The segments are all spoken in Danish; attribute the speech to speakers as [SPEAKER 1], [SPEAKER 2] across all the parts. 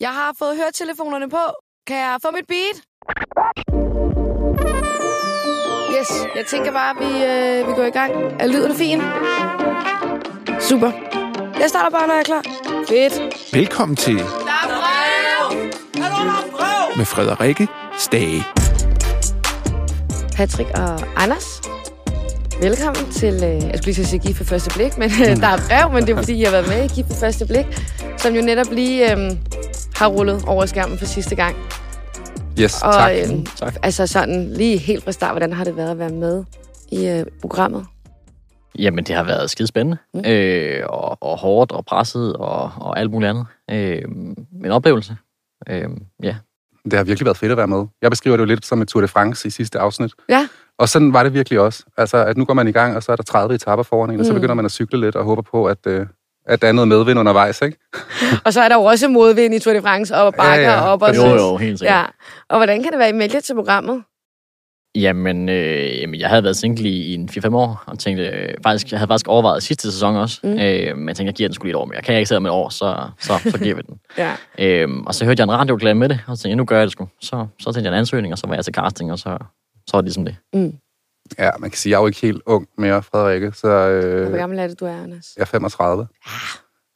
[SPEAKER 1] Jeg har fået høretelefonerne på. Kan jeg få mit beat? Yes, jeg tænker bare, at vi, øh, vi går i gang. Er lyden fin? Super. Jeg starter bare, når jeg er klar. Fedt.
[SPEAKER 2] Velkommen til med Frederikke Stage.
[SPEAKER 1] Patrick og Anders. Velkommen til, øh, jeg skulle lige til at sige Gift for første blik, men øh, der er brev, men det er fordi, I har været med i Gift for første blik, som jo netop lige øh, har rullet over skærmen for sidste gang.
[SPEAKER 3] Yes,
[SPEAKER 1] Og,
[SPEAKER 3] tak.
[SPEAKER 1] øhm,
[SPEAKER 3] tak.
[SPEAKER 1] Altså sådan lige helt fra start, hvordan har det været at være med i øh, programmet?
[SPEAKER 3] Jamen, det har været skidespændende.
[SPEAKER 1] Mm.
[SPEAKER 3] Mm. Øh, og, og hårdt og presset og, og alt muligt andet. Øh, en oplevelse. Øh, ja.
[SPEAKER 4] Det har virkelig været fedt at være med. Jeg beskriver det jo lidt som et Tour de France i sidste afsnit.
[SPEAKER 1] Ja.
[SPEAKER 4] Og sådan var det virkelig også. Altså, at nu går man i gang, og så er der 30 etapper foran en, og så
[SPEAKER 1] Mm.
[SPEAKER 4] begynder man at cykle lidt og håber på, at, øh, at der er noget medvind undervejs, ikke?
[SPEAKER 1] Og så er der jo også modvind i Tour de France, op og
[SPEAKER 4] Ja, ja,
[SPEAKER 1] bakker, ja, ja. op og
[SPEAKER 3] Jo, jo, helt sikkert.
[SPEAKER 1] Ja. Og hvordan kan det være, I meldte jer til programmet?
[SPEAKER 3] Jamen, øh, jamen, jeg havde været single i, i en 4-5 år, og tænkte, øh, faktisk, jeg havde faktisk overvejet sidste sæson også.
[SPEAKER 1] Mm.
[SPEAKER 3] Mm. Øh, men jeg tænkte, jeg giver den skulle lige et år mere. Kan jeg ikke sidde med et år, så, så, så giver vi den.
[SPEAKER 1] Ja.
[SPEAKER 3] Øh, og så hørte jeg en radioklage med det, og så tænkte jeg, nu gør jeg det sgu. Så, så tænkte jeg en ansøgning, og så var jeg til casting, og så, så var det ligesom det.
[SPEAKER 4] Ja, man kan sige, at jeg er jo ikke helt ung mere, Frederikke, så øh,
[SPEAKER 1] Hvor
[SPEAKER 4] jeg
[SPEAKER 1] gammel er det, du er, Anders?
[SPEAKER 4] er 35.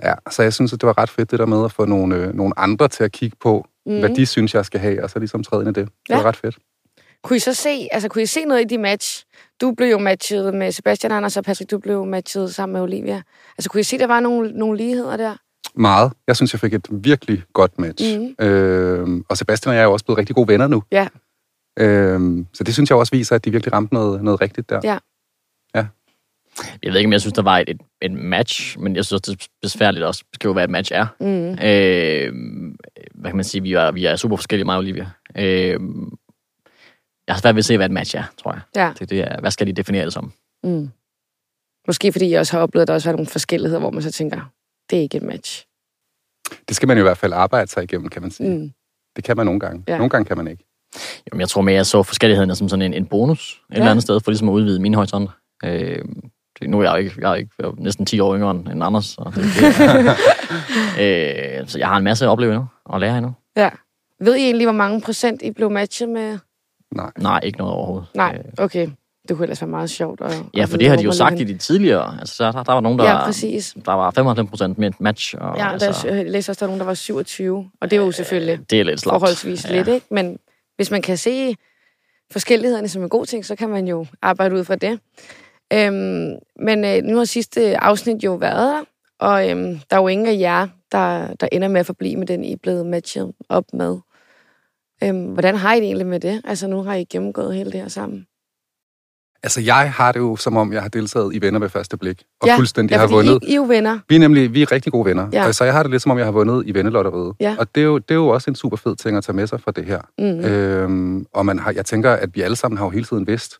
[SPEAKER 4] Ja, så jeg synes, at det var ret fedt det der med at få nogle, øh, nogle andre til at kigge på, mm. hvad de synes, jeg skal have, og så ligesom træde ind i det. Det
[SPEAKER 1] Ja.
[SPEAKER 4] var ret fedt.
[SPEAKER 1] Kunne I så se, altså, kunne I se noget i de match? Du blev jo matchet med Sebastian Anders, og Patrick, du blev matchet sammen med Olivia. Altså, kunne I se, der var nogle, nogle ligheder der?
[SPEAKER 4] Meget. Jeg synes, jeg fik et virkelig godt match.
[SPEAKER 1] Mhm.
[SPEAKER 4] Mm. Øh, og Sebastian og jeg er jo også blevet rigtig gode venner nu.
[SPEAKER 1] Ja.
[SPEAKER 4] Øh, så det synes jeg også viser, at de virkelig ramte noget, noget rigtigt der.
[SPEAKER 1] Ja.
[SPEAKER 3] Jeg ved ikke, om jeg synes, der var et, et, et match, men jeg synes også, det er besværligt at beskrive, hvad et match er.
[SPEAKER 1] Mm.
[SPEAKER 3] Øh, hvad kan man sige? Vi er, vi er super forskellige, mig og Olivia. Øh, jeg har svært ved at se, hvad et match er, tror jeg.
[SPEAKER 1] Ja.
[SPEAKER 3] Det, det er, hvad skal de definere det som?
[SPEAKER 1] Mm. Måske fordi jeg også har oplevet, at der også var nogle forskelligheder, hvor man så tænker, det er ikke et match.
[SPEAKER 4] Det skal man jo i hvert fald arbejde sig igennem, kan man sige. Mm.
[SPEAKER 1] Mm.
[SPEAKER 4] Det kan man nogle gange.
[SPEAKER 1] Ja.
[SPEAKER 4] Ja. Nogle gange kan man ikke.
[SPEAKER 3] Jamen, jeg tror mere, jeg så forskellighederne som sådan en, en bonus et
[SPEAKER 1] Ja.
[SPEAKER 3] eller andet sted, for ligesom at udvide mine horisonter. Øh, det, nu er jeg jo ikke, jeg er jo ikke jeg er jo næsten 10 år yngre end end Anders. Så, det, det, øh, så jeg har en masse at opleve endnu, og lære endnu.
[SPEAKER 1] Ja. Ved I egentlig, hvor mange procent I blev matchet med?
[SPEAKER 4] Nej.
[SPEAKER 3] Nej, ikke noget overhovedet.
[SPEAKER 1] Nej, okay. Det kunne ellers være meget sjovt. At,
[SPEAKER 3] Øh. Ja, for det har de jo sagt i de tidligere. Altså, der, der, der var nogen, der,
[SPEAKER 1] Ja, præcis.
[SPEAKER 3] der var 95 procent med et match. Og,
[SPEAKER 1] Ja, der,
[SPEAKER 3] altså, Øh,
[SPEAKER 1] jeg læste også, der er nogen, der var 27, og det er jo selvfølgelig
[SPEAKER 3] det er lidt slapt.
[SPEAKER 1] forholdsvis
[SPEAKER 3] Ja.
[SPEAKER 1] lidt, ikke? Men hvis man kan se forskellighederne som en god ting, så kan man jo arbejde ud fra det. Øhm, men øh, nu har sidste afsnit jo været der, og øhm, der er jo ingen af jer, der, der ender med at forblive med den, I er blevet matchet op med. Øhm, hvordan har I det egentlig med det? Altså, nu har I gennemgået hele det her sammen.
[SPEAKER 4] Altså, jeg har det jo, som om jeg har deltaget i Venner ved første blik, og
[SPEAKER 1] Ja,
[SPEAKER 4] ja. fuldstændig
[SPEAKER 1] ja,
[SPEAKER 4] har
[SPEAKER 1] fordi
[SPEAKER 4] vundet.
[SPEAKER 1] I, I er jo venner.
[SPEAKER 4] Vi er nemlig vi er rigtig gode venner,
[SPEAKER 1] Ja.
[SPEAKER 4] ja. så jeg har det lidt, som om jeg har vundet i vennelotteriet.
[SPEAKER 1] Ja.
[SPEAKER 4] Og det er, jo, det er jo også en super fed ting at tage med sig fra det her.
[SPEAKER 1] Mm.
[SPEAKER 4] Øhm, og man har, jeg tænker, at vi alle sammen har jo hele tiden vidst,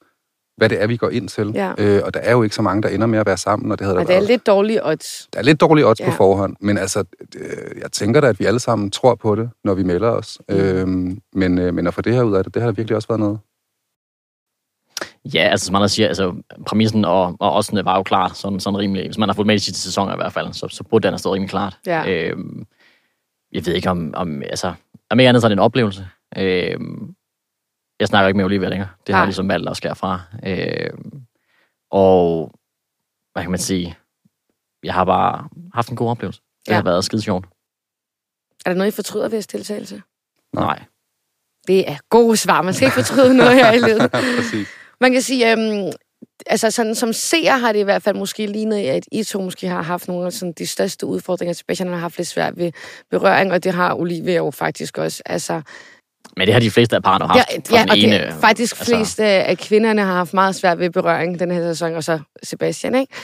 [SPEAKER 4] hvad det er, vi går ind til.
[SPEAKER 1] Ja.
[SPEAKER 4] Øh, og der er jo ikke så mange, der ender med at være sammen, og det havde der
[SPEAKER 1] Og det er
[SPEAKER 4] været.
[SPEAKER 1] lidt dårlige odds.
[SPEAKER 4] Der er lidt dårlige odds ja. på
[SPEAKER 1] Ja.
[SPEAKER 4] forhånd, men altså, øh, jeg tænker da, at vi alle sammen tror på det, når vi melder os.
[SPEAKER 1] Mm.
[SPEAKER 4] Mm. Øhm, men, øh, men at få det her ud af det, det har der virkelig også været noget.
[SPEAKER 3] Ja, altså som Anders siger, altså, præmissen og, og oddsene var jo klar, sådan, sådan rimelig. Hvis man har fulgt med i de sidste sæsoner i hvert fald, så, så burde den have stået rimelig klart.
[SPEAKER 4] Øh.
[SPEAKER 1] Ja.
[SPEAKER 3] Øhm, jeg ved ikke om, om altså, om ikke andet, så er det en oplevelse. Øhm, jeg snakker ikke med Olivia længere. Det har
[SPEAKER 1] Nej.
[SPEAKER 3] jeg ligesom valgt at skære fra. Øhm, og, hvad kan man sige, jeg har bare haft en god oplevelse. Det
[SPEAKER 1] Ja.
[SPEAKER 3] ja. har været skide sjovt.
[SPEAKER 1] Er der noget, I fortryder ved jeres deltagelse?
[SPEAKER 4] Nå.
[SPEAKER 3] Nej.
[SPEAKER 1] Det er gode svar. Man skal ikke fortryde noget her i livet.
[SPEAKER 4] Præcis.
[SPEAKER 1] Man kan sige, øhm, altså sådan, som seer har det i hvert fald måske lignet, at I to måske har haft nogle af sådan, de største udfordringer. Sebastian har haft lidt svært ved berøring, og det har Olivia jo faktisk også. Altså,
[SPEAKER 3] Men det har de fleste af parter haft.
[SPEAKER 1] ja,
[SPEAKER 3] fra
[SPEAKER 1] ja,
[SPEAKER 3] den
[SPEAKER 1] og det
[SPEAKER 3] ene,
[SPEAKER 1] er faktisk altså... flest øh, af kvinderne har haft meget svært ved berøring den her sæson, og så Sebastian, ikke?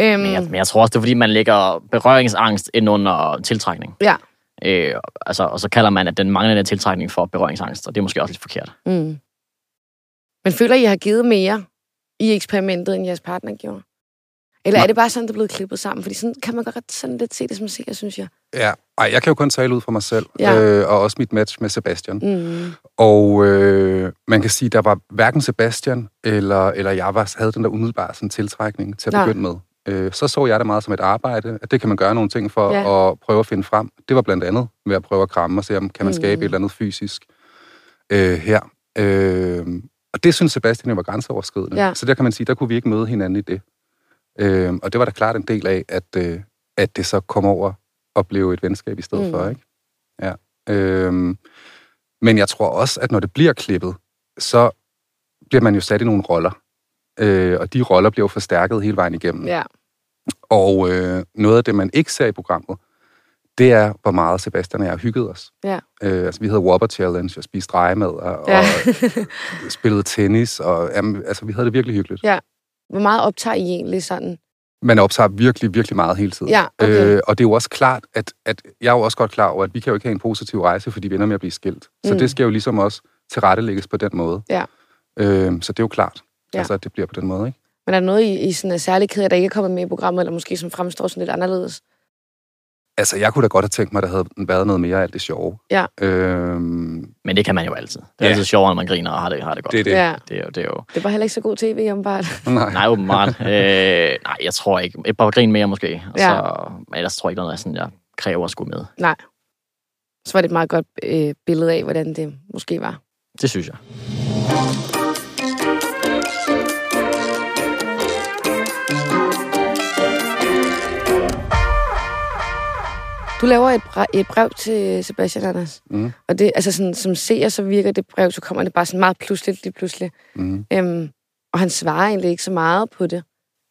[SPEAKER 1] Øhm,
[SPEAKER 3] Men jeg, men jeg tror også, det er, fordi man lægger berøringsangst ind under tiltrækning.
[SPEAKER 1] Ja.
[SPEAKER 3] Øh, altså, og så kalder man, at den manglende tiltrækning for berøringsangst, og det er måske også lidt forkert.
[SPEAKER 1] Mm. Men føler I, I har givet mere i eksperimentet, end jeres partner gjorde? Eller Nej.
[SPEAKER 4] Nej.
[SPEAKER 1] er det bare sådan, det er blevet klippet sammen? Fordi sådan kan man godt sådan lidt se det som seer, synes jeg.
[SPEAKER 4] Ja, Ej, jeg kan jo kun tale ud fra mig selv,
[SPEAKER 1] Ja.
[SPEAKER 4] ja. øh, og også mit match med Sebastian.
[SPEAKER 1] Mm.
[SPEAKER 4] Og øh, man kan sige, der var hverken Sebastian eller, eller jeg var, havde den der umiddelbare sådan, tiltrækning til at
[SPEAKER 1] Nej.
[SPEAKER 4] begynde med. øh, så så jeg det meget som et arbejde, at det kan man gøre nogle ting for
[SPEAKER 1] Ja.
[SPEAKER 4] ja. at prøve at finde frem. Det var blandt andet ved at prøve at kramme og se, om kan man skabe
[SPEAKER 1] Mm.
[SPEAKER 4] et eller andet fysisk øh, her. Øh, og det synes Sebastian jo var grænseoverskridende.
[SPEAKER 1] Ja.
[SPEAKER 4] Så der kan man sige, der kunne vi ikke møde hinanden i det. Øh, og det var da klart en del af, at, øh, at det så kom over og blev et venskab i stedet
[SPEAKER 1] Mm.
[SPEAKER 4] mm. for, ikke? Ja. Øh, men jeg tror også, at når det bliver klippet, så bliver man jo sat i nogle roller. Øh, og de roller bliver jo forstærket hele vejen igennem.
[SPEAKER 1] Ja.
[SPEAKER 4] Og øh, noget af det, man ikke ser i programmet, det er, hvor meget Sebastian og jeg har hygget os.
[SPEAKER 1] Ja.
[SPEAKER 4] Øh, altså, vi havde Whopper Challenge og spiste rejemad og,
[SPEAKER 1] Ja.
[SPEAKER 4] ja. og spillede tennis. Og, jamen, altså, vi havde det virkelig hyggeligt.
[SPEAKER 1] Ja. Hvor meget optager I egentlig sådan?
[SPEAKER 4] Man optager virkelig, virkelig meget hele tiden. Øh,
[SPEAKER 1] Ja, okay.
[SPEAKER 4] og det er jo også klart, at, at jeg er jo også godt klar over, at vi kan jo ikke have en positiv rejse, fordi vi ender med at blive skilt. Så
[SPEAKER 1] Mm.
[SPEAKER 4] mm. det skal jo ligesom også tilrettelægges på den måde.
[SPEAKER 1] Ja.
[SPEAKER 4] Øh, så det er jo klart,
[SPEAKER 1] Ja.
[SPEAKER 4] ja. altså, at det bliver på den måde. Ikke?
[SPEAKER 1] Men er der noget, I, I sådan er særlig ked af, der ikke er kommet med i programmet, eller måske som fremstår sådan lidt anderledes?
[SPEAKER 4] Altså, jeg kunne da godt have tænkt mig, at der havde været noget mere af alt det sjove.
[SPEAKER 1] Ja.
[SPEAKER 4] Øhm,
[SPEAKER 3] Men det kan man jo altid. Det er
[SPEAKER 4] Ja.
[SPEAKER 3] altid sjovere, når man griner og har det, har det godt.
[SPEAKER 4] det er det.
[SPEAKER 1] Ja.
[SPEAKER 3] Det er jo, det er jo
[SPEAKER 1] Det var heller ikke så god tv, åbenbart.
[SPEAKER 4] Nej.
[SPEAKER 3] Nej, åbenbart. øh, nej, jeg tror ikke. Et par grin mere måske. Og
[SPEAKER 1] Ja.
[SPEAKER 3] ja. så, men ellers tror jeg ikke, der er sådan, jeg kræver at skulle med.
[SPEAKER 1] Nej. Så var det et meget godt øh, billede af, hvordan det måske var.
[SPEAKER 3] Det synes jeg.
[SPEAKER 1] Du laver et, brev, et brev til Sebastian Anders.
[SPEAKER 4] Mm.
[SPEAKER 1] Og det, altså sådan, som seer, så virker det brev, så kommer det bare sådan meget pludseligt, lige pludselig.
[SPEAKER 4] Mm.
[SPEAKER 1] Øhm, og han svarer egentlig ikke så meget på det.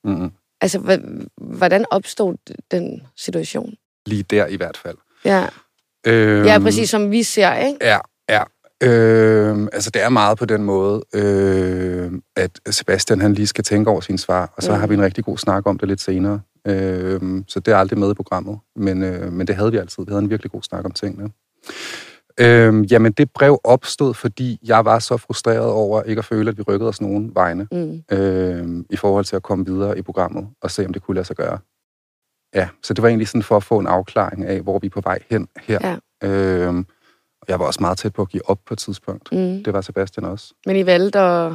[SPEAKER 4] Mm.
[SPEAKER 1] Altså, hva- hvordan opstod d- den situation?
[SPEAKER 4] Lige der i hvert fald.
[SPEAKER 1] Ja,
[SPEAKER 4] Øhm,
[SPEAKER 1] ja præcis som vi ser, ikke?
[SPEAKER 4] Ja, ja. Øhm, altså, det er meget på den måde, øhm, at Sebastian han lige skal tænke over sin svar, og så
[SPEAKER 1] Mm.
[SPEAKER 4] mm. har vi en rigtig god snak om det lidt senere. Øhm, så det er aldrig med i programmet, men, øh, men det havde vi altid. Vi havde en virkelig god snak om tingene. Øhm, jamen, det brev opstod, fordi jeg var så frustreret over ikke at føle, at vi rykkede os nogen vegne.
[SPEAKER 1] Mm.
[SPEAKER 4] øh, i forhold til at komme videre i programmet og se, om det kunne lade sig gøre. Ja, så det var egentlig sådan for at få en afklaring af, hvor vi er på vej hen her. Ja. Øh, og jeg var også meget tæt på at give op på et tidspunkt.
[SPEAKER 1] Mm.
[SPEAKER 4] Det var Sebastian også.
[SPEAKER 1] Men I valgte at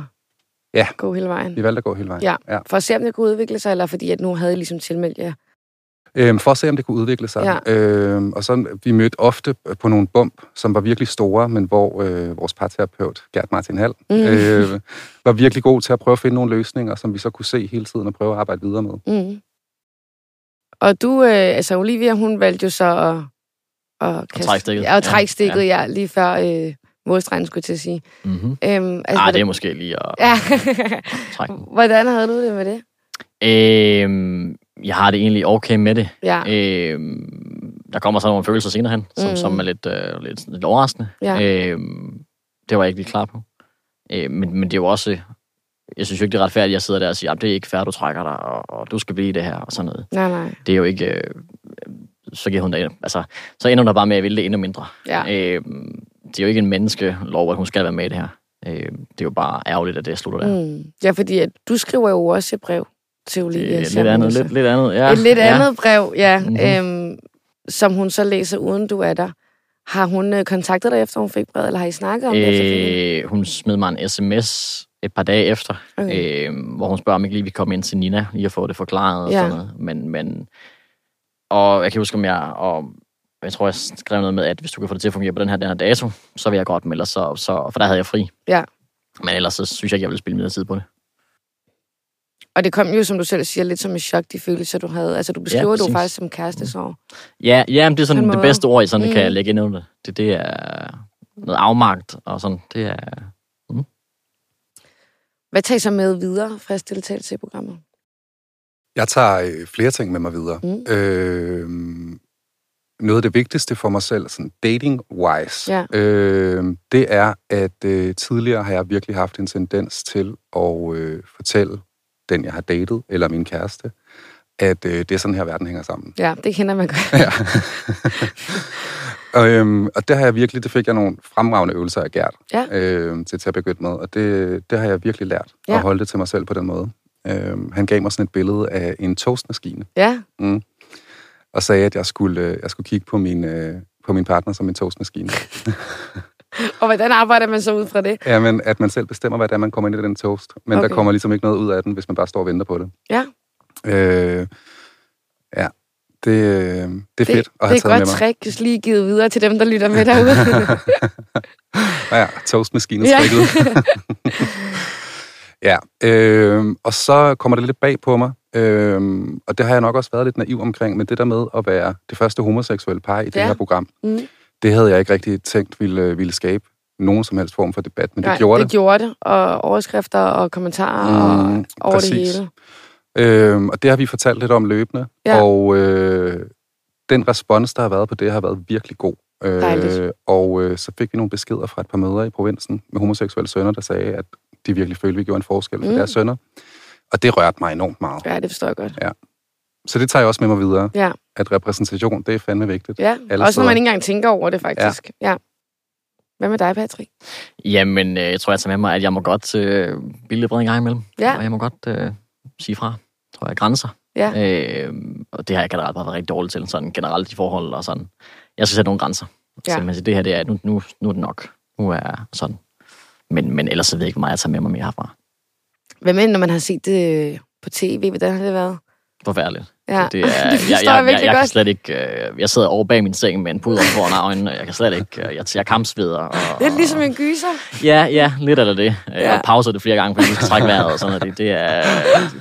[SPEAKER 4] Ja.
[SPEAKER 1] gå hele vejen.
[SPEAKER 4] Vi valgte at gå hele vejen.
[SPEAKER 1] Ja.
[SPEAKER 4] Ja.
[SPEAKER 1] For at se, om det kunne udvikle sig, eller fordi at nu havde I ligesom tilmeldt jer.
[SPEAKER 4] Øhm, for at se, om det kunne udvikle sig. Ja. Øhm, og så vi mødte ofte på nogle bump, som var virkelig store, men hvor øh, vores parterapeut, Gert Martin Hall,
[SPEAKER 1] Mm.
[SPEAKER 4] øh, var virkelig god til at prøve at finde nogle løsninger, som vi så kunne se hele tiden og prøve at arbejde videre med.
[SPEAKER 1] Mm. Og du, øh, altså Olivia, hun valgte jo så at... At, kaste,
[SPEAKER 3] trække stikket.
[SPEAKER 1] Ja, at
[SPEAKER 3] Ja,
[SPEAKER 1] trække stikket, ja. ja. Lige før øh, målstregen, skulle jeg til at sige.
[SPEAKER 3] Mm-hmm.
[SPEAKER 1] Øhm,
[SPEAKER 3] Ej, det
[SPEAKER 1] hvordan-
[SPEAKER 3] er måske lige at
[SPEAKER 1] Ja.
[SPEAKER 3] trække den.
[SPEAKER 1] hvordan havde du det med det?
[SPEAKER 3] Øhm, jeg har det egentlig okay med det.
[SPEAKER 1] Ja.
[SPEAKER 3] Øhm, der kommer så nogle følelser senere hen, som,
[SPEAKER 1] Mm.
[SPEAKER 3] mm. som er lidt, øh, lidt, lidt overraskende.
[SPEAKER 1] Ja.
[SPEAKER 3] Øhm, det var jeg ikke lige klar på. Øh, men, men det er jo også... Jeg synes jo ikke, det er retfærdigt, at jeg sidder der og siger, at det er ikke fair, du trækker dig, og, og du skal blive i det her, og sådan noget.
[SPEAKER 1] Nej, nej.
[SPEAKER 3] Det er jo ikke... Øh, så, giver hun det, altså, så ender hun der bare med at ville det endnu mindre.
[SPEAKER 1] Ja.
[SPEAKER 3] Øh, det er jo ikke en menneskelov, at hun skal være med i det her. Øh, det er jo bare ærgerligt, at det slutter der.
[SPEAKER 1] Mm. Ja, fordi at du skriver jo også et brev til Olivia.
[SPEAKER 3] Det er Øh, lidt
[SPEAKER 1] Schermose.
[SPEAKER 3] andet, lidt, lidt andet, ja.
[SPEAKER 1] Et lidt
[SPEAKER 3] ja.
[SPEAKER 1] andet brev, ja.
[SPEAKER 3] Mhm.
[SPEAKER 1] Øhm, som hun så læser, uden du er der. Har hun øh, kontaktet dig, efter hun fik brevet, eller har I snakket om det efterfølgende?
[SPEAKER 3] Øh, hun smed mig en sms et par dage efter,
[SPEAKER 1] Okay.
[SPEAKER 3] okay. øh, hvor hun spørger, om ikke lige vi komme ind til Nina, lige at få det forklaret og
[SPEAKER 1] Ja.
[SPEAKER 3] sådan noget. Men, men, og jeg kan huske, om jeg, og jeg tror, jeg skrev noget med, at hvis du kan få det til at fungere på den her, den her dato, så vil jeg godt, men ellers så, så, for der havde jeg fri.
[SPEAKER 1] Ja.
[SPEAKER 3] Men ellers så synes jeg ikke, jeg ville spille mere tid på det.
[SPEAKER 1] Og det kom jo, som du selv siger, lidt som et chok, de følelser, du havde. Altså, du beskriver ja, det jo
[SPEAKER 3] præcis.
[SPEAKER 1] faktisk som
[SPEAKER 4] Mm.
[SPEAKER 1] kærestesorg.
[SPEAKER 3] Ja, ja men
[SPEAKER 1] På
[SPEAKER 3] det er
[SPEAKER 1] en
[SPEAKER 3] sådan det
[SPEAKER 1] måde.
[SPEAKER 3] bedste ord, jeg sådan
[SPEAKER 1] Mm.
[SPEAKER 3] mm. kan lægge ind under det. det. Det er noget afmagt og sådan. Det er,
[SPEAKER 1] Hvad tager I så med videre fra jeres deltagelse i programmet?
[SPEAKER 4] Jeg tager øh, flere ting med mig videre.
[SPEAKER 1] Mm.
[SPEAKER 4] Mm. Øh, noget af det vigtigste for mig selv, sådan dating-wise,
[SPEAKER 1] Ja.
[SPEAKER 4] øh, det er, at øh, tidligere har jeg virkelig haft en tendens til at øh, fortælle den, jeg har datet, eller min kæreste, at øh, det er sådan her, verden hænger sammen.
[SPEAKER 1] Ja, det kender man godt.
[SPEAKER 4] Ja. og, øhm, og det har jeg virkelig, det fik jeg nogle fremragende øvelser af Gert
[SPEAKER 1] Ja.
[SPEAKER 4] øhm, til, til at begynde med, og det, det har jeg virkelig lært
[SPEAKER 1] Ja.
[SPEAKER 4] at holde det til mig selv på den måde. Øhm, han gav mig sådan et billede af en toastmaskine
[SPEAKER 1] Ja,
[SPEAKER 4] og sagde, at jeg skulle, øh, jeg skulle kigge på min, øh, på min partner som en toastmaskine.
[SPEAKER 1] og hvordan arbejder man så ud fra det?
[SPEAKER 4] Jamen, at man selv bestemmer, hvad det er, man kommer ind i den toast, men
[SPEAKER 1] Okay.
[SPEAKER 4] der kommer ligesom ikke noget ud af den, hvis man bare står og venter på det.
[SPEAKER 1] Ja.
[SPEAKER 4] Øh, ja, det, øh, det er det, fedt at have
[SPEAKER 1] det er
[SPEAKER 4] taget
[SPEAKER 1] et
[SPEAKER 4] med
[SPEAKER 1] godt
[SPEAKER 4] mig.
[SPEAKER 1] trick, just lige givet videre til dem, der lytter med derude.
[SPEAKER 4] Ja, toastmaskinen
[SPEAKER 1] Ja.
[SPEAKER 4] ja. ja, øh, og så kommer det lidt bag på mig, øh, og det har jeg nok også været lidt naiv omkring, men det der med at være det første homoseksuelle par i det
[SPEAKER 1] Ja.
[SPEAKER 4] her program,
[SPEAKER 1] Mm.
[SPEAKER 4] det havde jeg ikke rigtig tænkt ville, ville skabe nogen som helst form for debat, men det
[SPEAKER 1] Nej,
[SPEAKER 4] gjorde
[SPEAKER 1] det gjorde det, og overskrifter og kommentarer mm, og
[SPEAKER 4] Mm,
[SPEAKER 1] over præcis. det
[SPEAKER 4] præcis.
[SPEAKER 1] hele.
[SPEAKER 4] Øhm, og det har vi fortalt lidt om løbende,
[SPEAKER 1] Ja.
[SPEAKER 4] ja. og øh, den respons, der har været på det, har været virkelig god.
[SPEAKER 1] Dejligt.
[SPEAKER 4] og øh, så fik vi nogle beskeder fra et par mødre i provinsen med homoseksuelle sønner, der sagde, at de virkelig følte, at vi gjorde en forskel for
[SPEAKER 1] Mm.
[SPEAKER 4] deres sønner. Og det rørte mig enormt meget.
[SPEAKER 1] Ja, det forstår jeg godt.
[SPEAKER 4] Så det tager jeg også med mig videre,
[SPEAKER 1] Ja,
[SPEAKER 4] at repræsentation, det er fandme vigtigt.
[SPEAKER 1] ja. også
[SPEAKER 4] Alle
[SPEAKER 1] når
[SPEAKER 4] steder.
[SPEAKER 1] man ikke engang tænker over det, faktisk. Ja. ja. Hvad med dig, Patrick?
[SPEAKER 3] Jamen, øh, jeg tror, jeg tager med mig, at jeg må godt øh, blive lidt vred en gang imellem.
[SPEAKER 1] Ja.
[SPEAKER 3] Og jeg må godt øh, sige fra, tror jeg, grænser.
[SPEAKER 1] Ja.
[SPEAKER 3] Øh, og det har jeg generelt bare været rigtig dårlig til, sådan generelt i forhold og sådan. Jeg skal sætte nogle grænser.
[SPEAKER 1] Ja.
[SPEAKER 3] Så man siger, det her, det er, nu, nu, nu er det nok. Nu er sådan. Men, men ellers så ved jeg ikke, hvor meget jeg tager med mig mere herfra.
[SPEAKER 1] Hvad med, når man har set det på tv? Hvordan har det været?
[SPEAKER 3] Forfærdeligt.
[SPEAKER 1] Ja,
[SPEAKER 3] Altså, Det er, jeg,
[SPEAKER 1] forstår
[SPEAKER 3] jeg,
[SPEAKER 1] jeg,
[SPEAKER 3] jeg, jeg,
[SPEAKER 1] virkelig
[SPEAKER 3] jeg kan
[SPEAKER 1] godt.
[SPEAKER 3] slet ikke... Øh, jeg sidder over bag min seng med en puder foran øjnene. Jeg kan slet ikke... Øh, jeg, jeg kampsveder. Og,
[SPEAKER 1] Lidt ligesom en gyser.
[SPEAKER 3] Ja, ja, lidt eller det.
[SPEAKER 1] Ja.
[SPEAKER 3] Ja. Jeg pauser det flere gange, fordi vi skal trække vejret og sådan noget. Det, det, er,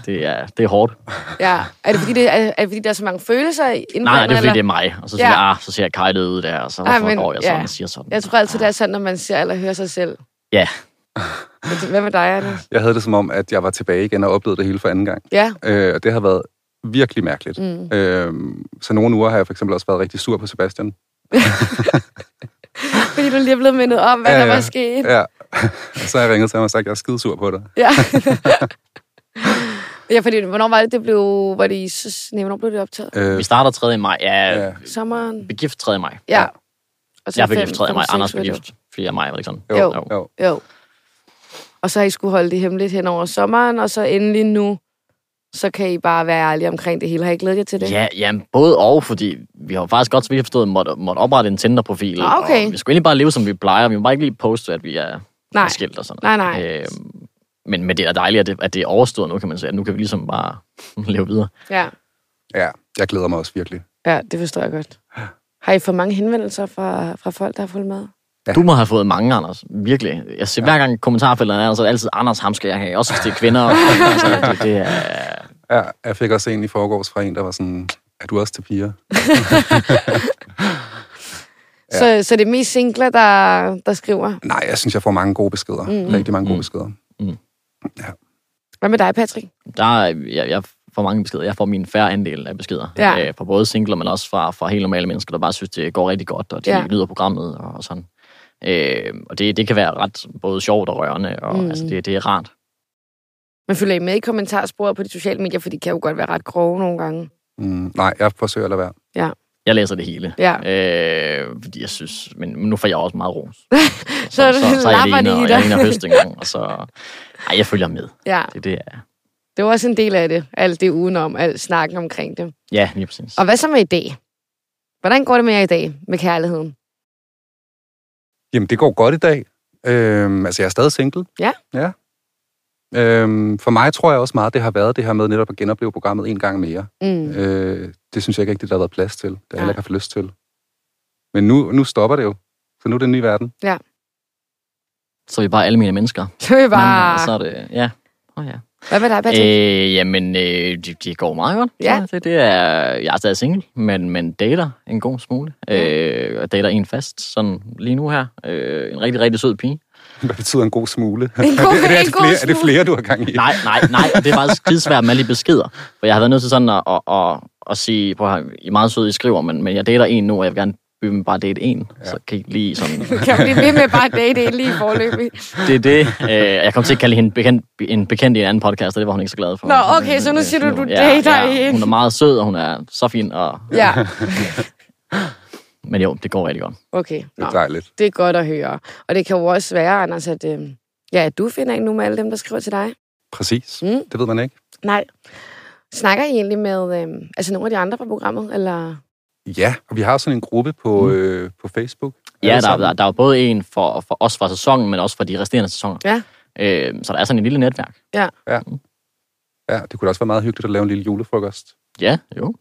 [SPEAKER 3] det, er, det er hårdt.
[SPEAKER 1] Ja. Er det, fordi det, er, er det, fordi der er så mange følelser inden
[SPEAKER 3] Nej, nej, det er fordi, det er mig. Og så siger
[SPEAKER 1] Ja.
[SPEAKER 3] ja. jeg, ah, så ser jeg kajtet ud der, og så
[SPEAKER 1] Ej,
[SPEAKER 3] Ej,
[SPEAKER 1] men-
[SPEAKER 3] men, går jeg sådan
[SPEAKER 1] ja.
[SPEAKER 3] ja. og siger sådan.
[SPEAKER 1] Jeg tror altid, det er sådan, når man ser eller hører sig selv.
[SPEAKER 3] Ja,
[SPEAKER 1] Men det- Hvad med dig, Anders?
[SPEAKER 4] Jeg havde det som om, at jeg var tilbage igen og oplevede det hele for anden gang.
[SPEAKER 1] Ja.
[SPEAKER 4] Øh, og det har været virkelig mærkeligt.
[SPEAKER 1] Mm.
[SPEAKER 4] Øh, så nogle uger har jeg for eksempel også været rigtig sur på Sebastian.
[SPEAKER 1] Fordi du lige er blevet mindet om, hvad
[SPEAKER 4] Ja,
[SPEAKER 1] der
[SPEAKER 4] ja.
[SPEAKER 1] var sket.
[SPEAKER 4] Ja. så har jeg ringet til ham og sagt, at jeg er skidesur på dig.
[SPEAKER 1] Ja. ja, fordi hvornår var det, det blev... Var det i... s- Nej, hvornår blev det optaget?
[SPEAKER 4] Øh,
[SPEAKER 3] vi starter 3. maj. Ja,
[SPEAKER 4] Ja.
[SPEAKER 3] ja.
[SPEAKER 1] Sommeren?
[SPEAKER 3] begift 3. maj.
[SPEAKER 1] Ja. Og
[SPEAKER 3] Jeg fik
[SPEAKER 1] fem-
[SPEAKER 3] gift 3. maj,
[SPEAKER 1] fem-
[SPEAKER 3] Anders
[SPEAKER 1] seks,
[SPEAKER 3] blev
[SPEAKER 1] var det
[SPEAKER 3] gift. Fordi jeg er mig, var det ikke sådan?
[SPEAKER 1] Jo.
[SPEAKER 4] jo.
[SPEAKER 1] jo. Jo. Og så har I skulle holde det hemmeligt hen over sommeren, og så endelig nu, så kan I bare være ærlige omkring det hele. Har I glædet jer til det?
[SPEAKER 3] Ja, ja, både og, fordi vi har jo faktisk godt, så vi har forstået, måtte, måtte oprette en Tinder-profil.
[SPEAKER 1] Ah, okay.
[SPEAKER 3] Og vi skulle egentlig bare leve, som vi plejer. Vi må bare ikke lige poste, at vi er
[SPEAKER 1] Nej.
[SPEAKER 3] Nej. skilt og sådan
[SPEAKER 1] Nej,
[SPEAKER 3] noget.
[SPEAKER 1] nej.
[SPEAKER 3] Øhm, men, men det er dejligt, at det, at det er overstået nu, kan man sige. At nu kan vi ligesom bare leve videre.
[SPEAKER 1] Ja.
[SPEAKER 4] Ja, jeg glæder mig også virkelig.
[SPEAKER 1] ja, det forstår jeg godt. Har I for mange henvendelser fra, fra folk, der har fulgt med?
[SPEAKER 4] Ja.
[SPEAKER 3] Du må have fået mange, Anders. Virkelig. Jeg ser hver gang kommentarfelterne er, så er det altid, Anders, ham skal jeg have. Også hvis det er kvinder. Og, altså, det, det er...
[SPEAKER 4] Ja, jeg fik også en i forgårs fra en, der var sådan, er du også til piger?
[SPEAKER 1] Ja. Så, så det er mest singler, der, der skriver.
[SPEAKER 4] Nej, jeg synes, jeg får mange gode beskeder. Mm. Rigtig mange gode beskeder.
[SPEAKER 1] Hvad med dig, Patrick?
[SPEAKER 3] Der er jeg, jeg får mange beskeder. Jeg får min færre andel af beskeder.
[SPEAKER 1] Ja.
[SPEAKER 3] Øh, fra både singler, men også fra, fra helt normale mennesker, der bare synes, det går rigtig godt, og de
[SPEAKER 1] Ja.
[SPEAKER 3] ja. lyder programmet og sådan. Øh, og det, det kan være ret både sjovt og rørende, og
[SPEAKER 1] Mm.
[SPEAKER 3] mm. altså, det, det er rart.
[SPEAKER 1] Men følger I med i kommentarsporet på de sociale medier, for de kan jo godt være ret grove nogle gange.
[SPEAKER 4] Mm, nej, jeg forsøger at lade være.
[SPEAKER 3] Jeg læser det hele.
[SPEAKER 1] Ja.
[SPEAKER 3] Øh, fordi jeg synes, men nu får jeg også meget ros.
[SPEAKER 1] Så lapper
[SPEAKER 3] ene
[SPEAKER 1] de i
[SPEAKER 3] og-
[SPEAKER 1] dig.
[SPEAKER 3] jeg er ene og høst engang, og så... Ej, jeg følger med.
[SPEAKER 1] Ja,
[SPEAKER 3] Det, det er...
[SPEAKER 1] det var også en del af det. Alt det udenom, alt snakken omkring det.
[SPEAKER 3] Ja, lige præcis.
[SPEAKER 1] Og hvad så med i dag? Hvordan går det med jer i dag med kærligheden?
[SPEAKER 4] Jamen, det går godt i dag. Øhm, altså, jeg er stadig single.
[SPEAKER 1] Ja.
[SPEAKER 4] ja. Øhm, for mig tror jeg også meget, det har været det her med netop at genopleve programmet en gang mere.
[SPEAKER 1] Mm.
[SPEAKER 4] Øh, det synes jeg ikke rigtig, der har været plads til. Det har jeg
[SPEAKER 1] Nej.
[SPEAKER 4] heller ikke haft lyst til. Men nu, nu stopper det jo. Så nu er det en ny verden.
[SPEAKER 3] Så er vi bare alle mine mennesker.
[SPEAKER 1] Så er vi
[SPEAKER 3] Men, øh, så
[SPEAKER 4] altså-
[SPEAKER 1] bare...
[SPEAKER 3] er det... Ja. Oh, ja.
[SPEAKER 1] Hvad med dig, Patrick?
[SPEAKER 3] Øh, jamen, øh, det, det går meget godt.
[SPEAKER 1] Ja.
[SPEAKER 3] tror jeg. Det, det er, jeg er stadig single, men, men dater en god smule.
[SPEAKER 1] Ja.
[SPEAKER 3] Øh, og dater en fast, sådan lige nu her. Øh, en rigtig, rigtig sød pige.
[SPEAKER 4] Hvad betyder en god smule?
[SPEAKER 1] En god,
[SPEAKER 4] er, det, er,
[SPEAKER 1] en
[SPEAKER 4] det
[SPEAKER 1] god
[SPEAKER 4] flere, er det
[SPEAKER 1] smule.
[SPEAKER 4] flere, du har gang i?
[SPEAKER 3] Nej, nej, nej. Og det er faktisk skidesvært med alle de beskeder. For jeg har været nødt til sådan at, at, at, at sige, prøv at høre, I er meget søde, I skriver, men, men jeg dater en nu, og jeg vil gerne øh, bare date en. Ja. Så kan I ikke lige sådan
[SPEAKER 1] Kan man blive ved med bare at date en lige i forløbet?
[SPEAKER 3] Det er det. Øh, jeg kom til at kalde hende bekendt, en bekendt i en anden podcast, og det var hun ikke så glad for.
[SPEAKER 1] Nå, okay, så nu siger du, du dater hende.
[SPEAKER 3] Hun er meget sød, og hun er så fin. Og,
[SPEAKER 1] Ja,
[SPEAKER 3] Men jo, det går rigtig godt.
[SPEAKER 1] okay.
[SPEAKER 4] Det
[SPEAKER 1] Nå,
[SPEAKER 4] er dejligt.
[SPEAKER 1] det er godt at høre. Og det kan jo også være, Anders, at, øh, ja, at du finder en nu med alle dem, der skriver til dig.
[SPEAKER 4] Præcis.
[SPEAKER 1] Mm.
[SPEAKER 4] Det ved man ikke.
[SPEAKER 1] Nej. Snakker I egentlig med øh, altså nogle af de andre fra programmet? Eller?
[SPEAKER 4] Ja, og vi har sådan en gruppe på, mm. øh, på Facebook.
[SPEAKER 3] Ja,
[SPEAKER 4] Alle
[SPEAKER 3] der,
[SPEAKER 4] sammen.
[SPEAKER 3] der, der er både en for, for os fra sæsonen, men også fra de resterende sæsoner.
[SPEAKER 1] Ja.
[SPEAKER 3] Øh, så der er sådan et lille netværk.
[SPEAKER 4] Ja, det kunne da også være meget hyggeligt at lave en lille julefrokost.
[SPEAKER 3] Ja, jo.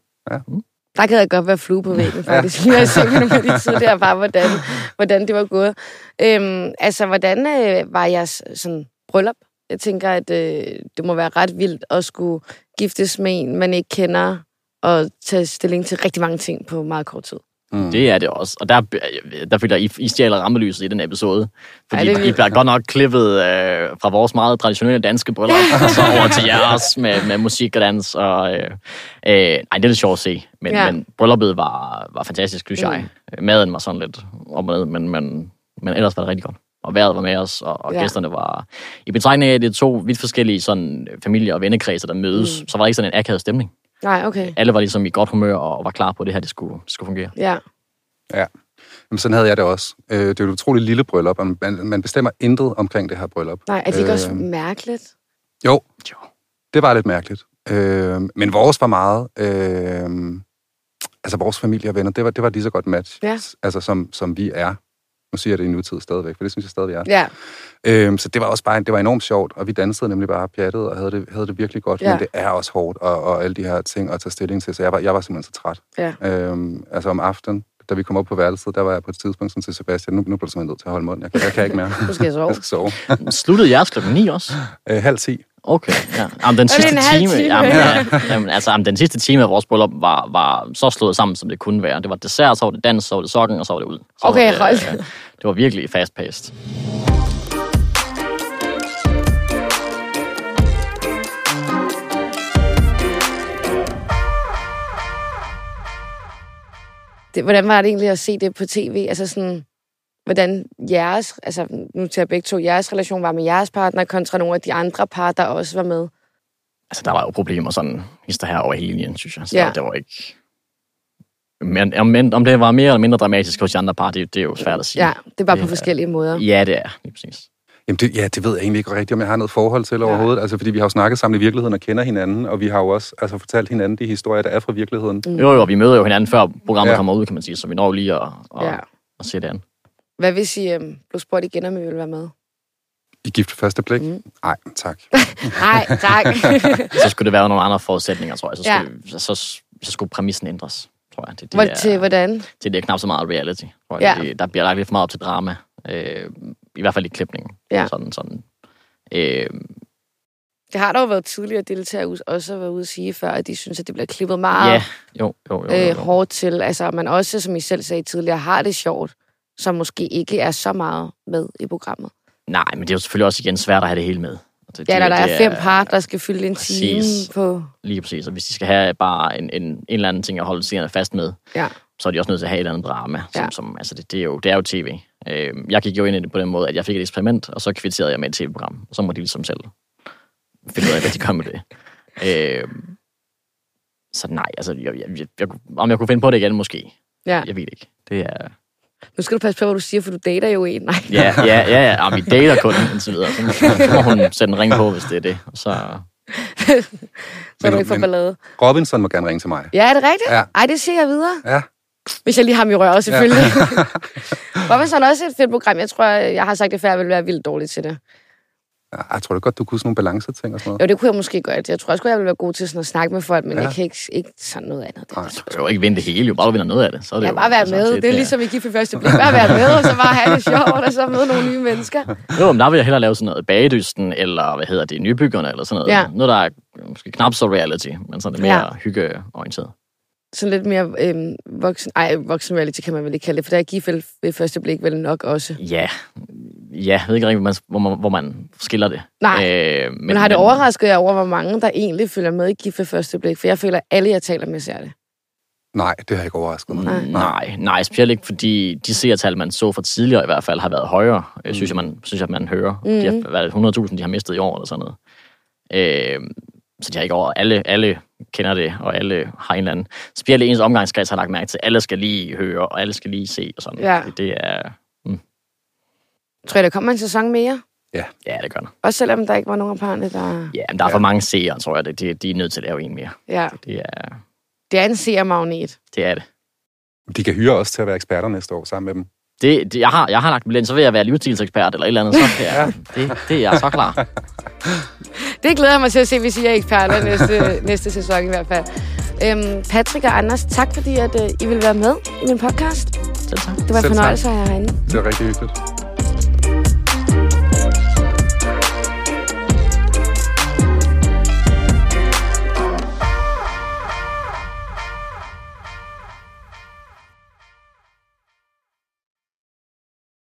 [SPEAKER 1] Der kan jeg godt være flue på væggen, faktisk. Ja. Når jeg ser på nogle af de tidligere, bare hvordan, hvordan det var gået. Øhm, altså, hvordan øh, var jeres sådan, bryllup? Jeg tænker, at øh, det må være ret vildt at skulle giftes med en, man ikke kender, og tage stilling til rigtig mange ting på meget kort tid.
[SPEAKER 4] Mm.
[SPEAKER 3] Det er det også. Og der, der føler jeg, I, I stjæler rammelyset i den episode. Fordi
[SPEAKER 1] Ej, det er
[SPEAKER 3] Ej, I
[SPEAKER 1] vildt.
[SPEAKER 3] bliver godt nok klippet øh, fra vores meget traditionelle danske bryllup, og så over til jeres med, med musik og dans. Og, øh, øh, ej, det er lidt sjovt at se. Men,
[SPEAKER 1] Ja. Mm.
[SPEAKER 3] ja. men brylluppet var, var fantastisk, synes jeg. Maden var sådan lidt om og ned, men, men, men ellers var det rigtig godt. Og vejret var med os, og, og
[SPEAKER 1] Ja.
[SPEAKER 3] ja. gæsterne var... I betragtning af, at det er to vidt forskellige sådan, familie- og vennekredser, der mødes, mm. så var der ikke sådan en akavet stemning.
[SPEAKER 1] Nej, okay.
[SPEAKER 3] Alle var ligesom i godt humør og var klar på, at det her det skulle, det skulle fungere.
[SPEAKER 1] Ja.
[SPEAKER 4] Jamen, sådan havde jeg det også. Øh, det er jo et utroligt lille bryllup, og man, man bestemmer intet omkring det her bryllup.
[SPEAKER 1] Nej, er det ikke øh... også
[SPEAKER 4] Øhm.
[SPEAKER 1] mærkeligt?
[SPEAKER 4] Jo, det var lidt mærkeligt. Øh, men vores var meget... Øh, altså, vores familie og venner, det var, det var et lige så godt match,
[SPEAKER 1] Ja.
[SPEAKER 4] altså, som, som vi er. Nu siger jeg det i nutid stadigvæk, for det synes jeg stadig, vi er.
[SPEAKER 1] Ja.
[SPEAKER 4] Øhm, så det var også bare, det var enormt sjovt, og vi dansede nemlig bare pjattet, og havde det, havde det virkelig godt,
[SPEAKER 1] Ja.
[SPEAKER 4] ja. men det er også hårdt, og, og alle de her ting at tage stilling til, så jeg var, jeg var simpelthen så træt.
[SPEAKER 1] Ja.
[SPEAKER 4] Øhm, altså om aftenen, da vi kom op på værelset, der var jeg på et tidspunkt sådan til Sebastian, nu, nu bliver du simpelthen nødt til at holde munden, jeg, kan- jeg kan ikke mere.
[SPEAKER 1] Nu skal jeg sove.
[SPEAKER 4] jeg skal sove.
[SPEAKER 3] Sluttede jeres klokken 9 også?
[SPEAKER 4] Øh, halv ti.
[SPEAKER 3] Okay, ja. Jamen, den
[SPEAKER 1] det
[SPEAKER 3] sidste
[SPEAKER 1] en halv
[SPEAKER 3] time,
[SPEAKER 1] time?
[SPEAKER 3] jamen, ja. jamen, altså, jamen, den sidste time af vores bryllup var, var så slået sammen, som det kunne være. Det var dessert, så var det dans, så var det sokken, og så var det ud. Så
[SPEAKER 1] Okay,
[SPEAKER 3] var det,
[SPEAKER 1] hold.
[SPEAKER 3] øh, det var virkelig fast-paced.
[SPEAKER 1] det, hvordan var det egentlig at se det på tv? Altså sådan, hvordan jeres, altså nu til jer begge to, jeres relation var med jeres partner, kontra nogle af de andre par, der også var med.
[SPEAKER 3] Altså, der var jo problemer sådan, hister her over hele linjen, synes jeg. Så
[SPEAKER 1] Ja.
[SPEAKER 3] ja. det var ikke... Men om, men om det var mere eller mindre dramatisk hos de andre par, det, det er jo svært at sige.
[SPEAKER 1] Ja, det er bare på
[SPEAKER 3] Ja.
[SPEAKER 1] forskellige måder.
[SPEAKER 3] ja det er, lige præcis.
[SPEAKER 4] Jamen det, ja, det ved jeg egentlig ikke rigtigt, om jeg har noget forhold til overhovedet, altså fordi vi har jo snakket sammen i virkeligheden og kender hinanden, og vi har jo også altså, fortalt hinanden de historier, der er fra virkeligheden. Mm.
[SPEAKER 3] Jo, jo, vi møder jo hinanden, før programmet ja.
[SPEAKER 4] Ja.
[SPEAKER 3] kommer ud, kan man sige, så vi når jo lige at, at,
[SPEAKER 1] Ja.
[SPEAKER 3] ja. at se det an.
[SPEAKER 1] Hvad hvis I øhm, blev spurgt igen, om I ville være med?
[SPEAKER 4] I gift ved første blik?
[SPEAKER 1] Mm.
[SPEAKER 4] Nej, mm. tak.
[SPEAKER 1] Nej, tak.
[SPEAKER 3] så skulle det være under nogle andre forudsætninger, tror jeg. Så
[SPEAKER 1] Ja.
[SPEAKER 3] skulle, ja. så, så, så skulle præmissen ændres, tror jeg. Det, det,
[SPEAKER 1] Hvor, til
[SPEAKER 3] er,
[SPEAKER 1] hvordan?
[SPEAKER 3] det, det er knap så meget reality. Tror
[SPEAKER 1] Ja.
[SPEAKER 3] jeg. Det, der bliver lagt lidt for meget op til drama. Øh, I hvert fald i klipningen.
[SPEAKER 1] Ja.
[SPEAKER 3] Sådan, sådan. Øh,
[SPEAKER 1] Det har der jo været tidligere deltagere også har været ude at sige før, at de synes, at det bliver klippet meget
[SPEAKER 3] ja, jo, jo, jo. jo,
[SPEAKER 1] Ah. øh,
[SPEAKER 3] jo.
[SPEAKER 1] hårdt til. Altså, at man også, som I selv sagde tidligere, har det sjovt, som måske ikke er så meget med i programmet.
[SPEAKER 3] Nej, men det er jo selvfølgelig også igen svært at have det hele med. Og Det,
[SPEAKER 1] Ja,
[SPEAKER 3] det-
[SPEAKER 1] når der
[SPEAKER 3] det
[SPEAKER 1] er fem par, der skal fylde en time
[SPEAKER 3] Præcis.
[SPEAKER 1] på...
[SPEAKER 3] Lige præcis. Og hvis de skal have bare en, en, en eller anden ting at holde seerne fast med,
[SPEAKER 1] Ja.
[SPEAKER 3] så er de også nødt til at have et eller andet drama. Som,
[SPEAKER 1] Ja.
[SPEAKER 3] ja. som, altså det, det, er jo, det er jo tv. Øh, jeg gik jo ind i det på den måde, at jeg fik et eksperiment, og så kvitterede jeg med et tv-program. Og så må de ligesom selv finde ud af, hvad de kom med det. Øh, så nej, altså, jeg, jeg, jeg, jeg, kunne- om jeg kunne finde på det igen, måske.
[SPEAKER 1] Ja.
[SPEAKER 3] Jeg ved det ikke. Det er...
[SPEAKER 1] Nu skal du passe på, hvad du siger, for du dater jo en. Nej.
[SPEAKER 3] Ja, ja, ja, ja. Jamen, vi dater kun, indtil videre. Så må, så må hun sætte en ring på, hvis det er det. Og så,
[SPEAKER 1] Så er du ikke for
[SPEAKER 4] men-
[SPEAKER 1] ballade.
[SPEAKER 4] Robinson må gerne ringe til mig.
[SPEAKER 1] Ja, er det rigtigt?
[SPEAKER 4] Ja.
[SPEAKER 1] Ej, det siger jeg videre.
[SPEAKER 4] Ja.
[SPEAKER 1] Hvis jeg lige har ham i røret, selvfølgelig. Robinson er også et fedt program. Jeg tror, jeg har sagt det før, jeg ville være vildt dårlig til det.
[SPEAKER 4] Ja, Jeg tror da godt, du kunne sådan nogle balanceting og sådan noget.
[SPEAKER 1] Jo, det kunne jeg måske godt. Jeg tror også, jeg ville være god til sådan at snakke med folk, men ja.
[SPEAKER 4] Ja.
[SPEAKER 1] jeg kan ikke, ikke sådan noget andet. Det.
[SPEAKER 4] Nej.
[SPEAKER 3] du behøver ikke vinde det hele, jo. Bare du vinder noget af det. Så er det
[SPEAKER 1] Jeg
[SPEAKER 3] jo,
[SPEAKER 1] bare være
[SPEAKER 3] sådan
[SPEAKER 1] med.
[SPEAKER 3] set,
[SPEAKER 1] Det er
[SPEAKER 3] ja.
[SPEAKER 1] ligesom i gift ved første blik. Bare være med, og så bare have det sjovt, og så møde nogle nye mennesker.
[SPEAKER 3] Jo, men der vil jeg hellere lave sådan noget bagedysten, eller hvad hedder det, nybyggerne, eller sådan noget.
[SPEAKER 1] Ja.
[SPEAKER 3] Ja. Noget, der er måske knap så reality, men sådan lidt mere
[SPEAKER 1] Ja.
[SPEAKER 3] ja. hyggeorienteret.
[SPEAKER 1] Sådan lidt mere øhm, voksen... Ej, voksen reality kan man vel ikke kalde det, for der er gift ved- ved første blik vel nok også.
[SPEAKER 3] Ja, ja jeg ved ikke rigtig, hvor man, hvor man, hvor man skiller det.
[SPEAKER 1] Nej.
[SPEAKER 3] Øh, men,
[SPEAKER 1] Men har det overrasket jer over, hvor mange, der egentlig følger med i gift ved første blik? For jeg føler, at alle, jeg taler med, ser det.
[SPEAKER 4] Nej, det har ikke overrasket mig.
[SPEAKER 1] Nej.
[SPEAKER 3] Nej, nej, specielt ikke, fordi de seertal, man så fra tidligere i hvert fald, har været højere, mm. synes, jeg, man, synes jeg, man hører. Mm. De har været 100.000, de har mistet i år, eller sådan noget. Øh, så de har ikke over. Alle, alle kender det, og alle har en eller anden. Specielt i ens omgangskreds har lagt mærke til, at alle skal lige høre, og alle skal lige se, og sådan.
[SPEAKER 1] Ja.
[SPEAKER 3] Det, det er,
[SPEAKER 1] Tror jeg, der kommer en sæson mere?
[SPEAKER 3] Ja, det gør der.
[SPEAKER 1] Også selvom der ikke var nogen af parrene, der...
[SPEAKER 3] Ja, men der er for mange seere, tror jeg. Det, det, de er nødt til at lave en mere.
[SPEAKER 1] Ja,
[SPEAKER 3] Det er
[SPEAKER 1] det er en seermagnet.
[SPEAKER 3] det. Er det.
[SPEAKER 4] De kan hyre os til at være eksperter næste år sammen med dem.
[SPEAKER 3] Det, det, jeg, har, jeg har lagt billet, så vil jeg være livsstilsekspert eller et eller andet. Så kan jeg, det, det er jeg så klar.
[SPEAKER 1] Det glæder jeg mig til at se, hvis I er eksperter næste, næste sæson i hvert fald. Øhm, Patrick og Anders, tak fordi at, øh, I vil være med i min podcast.
[SPEAKER 3] Selv tak.
[SPEAKER 1] Det var en
[SPEAKER 4] Selv tak.
[SPEAKER 1] fornøjelse at have jer herinde.
[SPEAKER 4] Det er rigtig hyggeligt.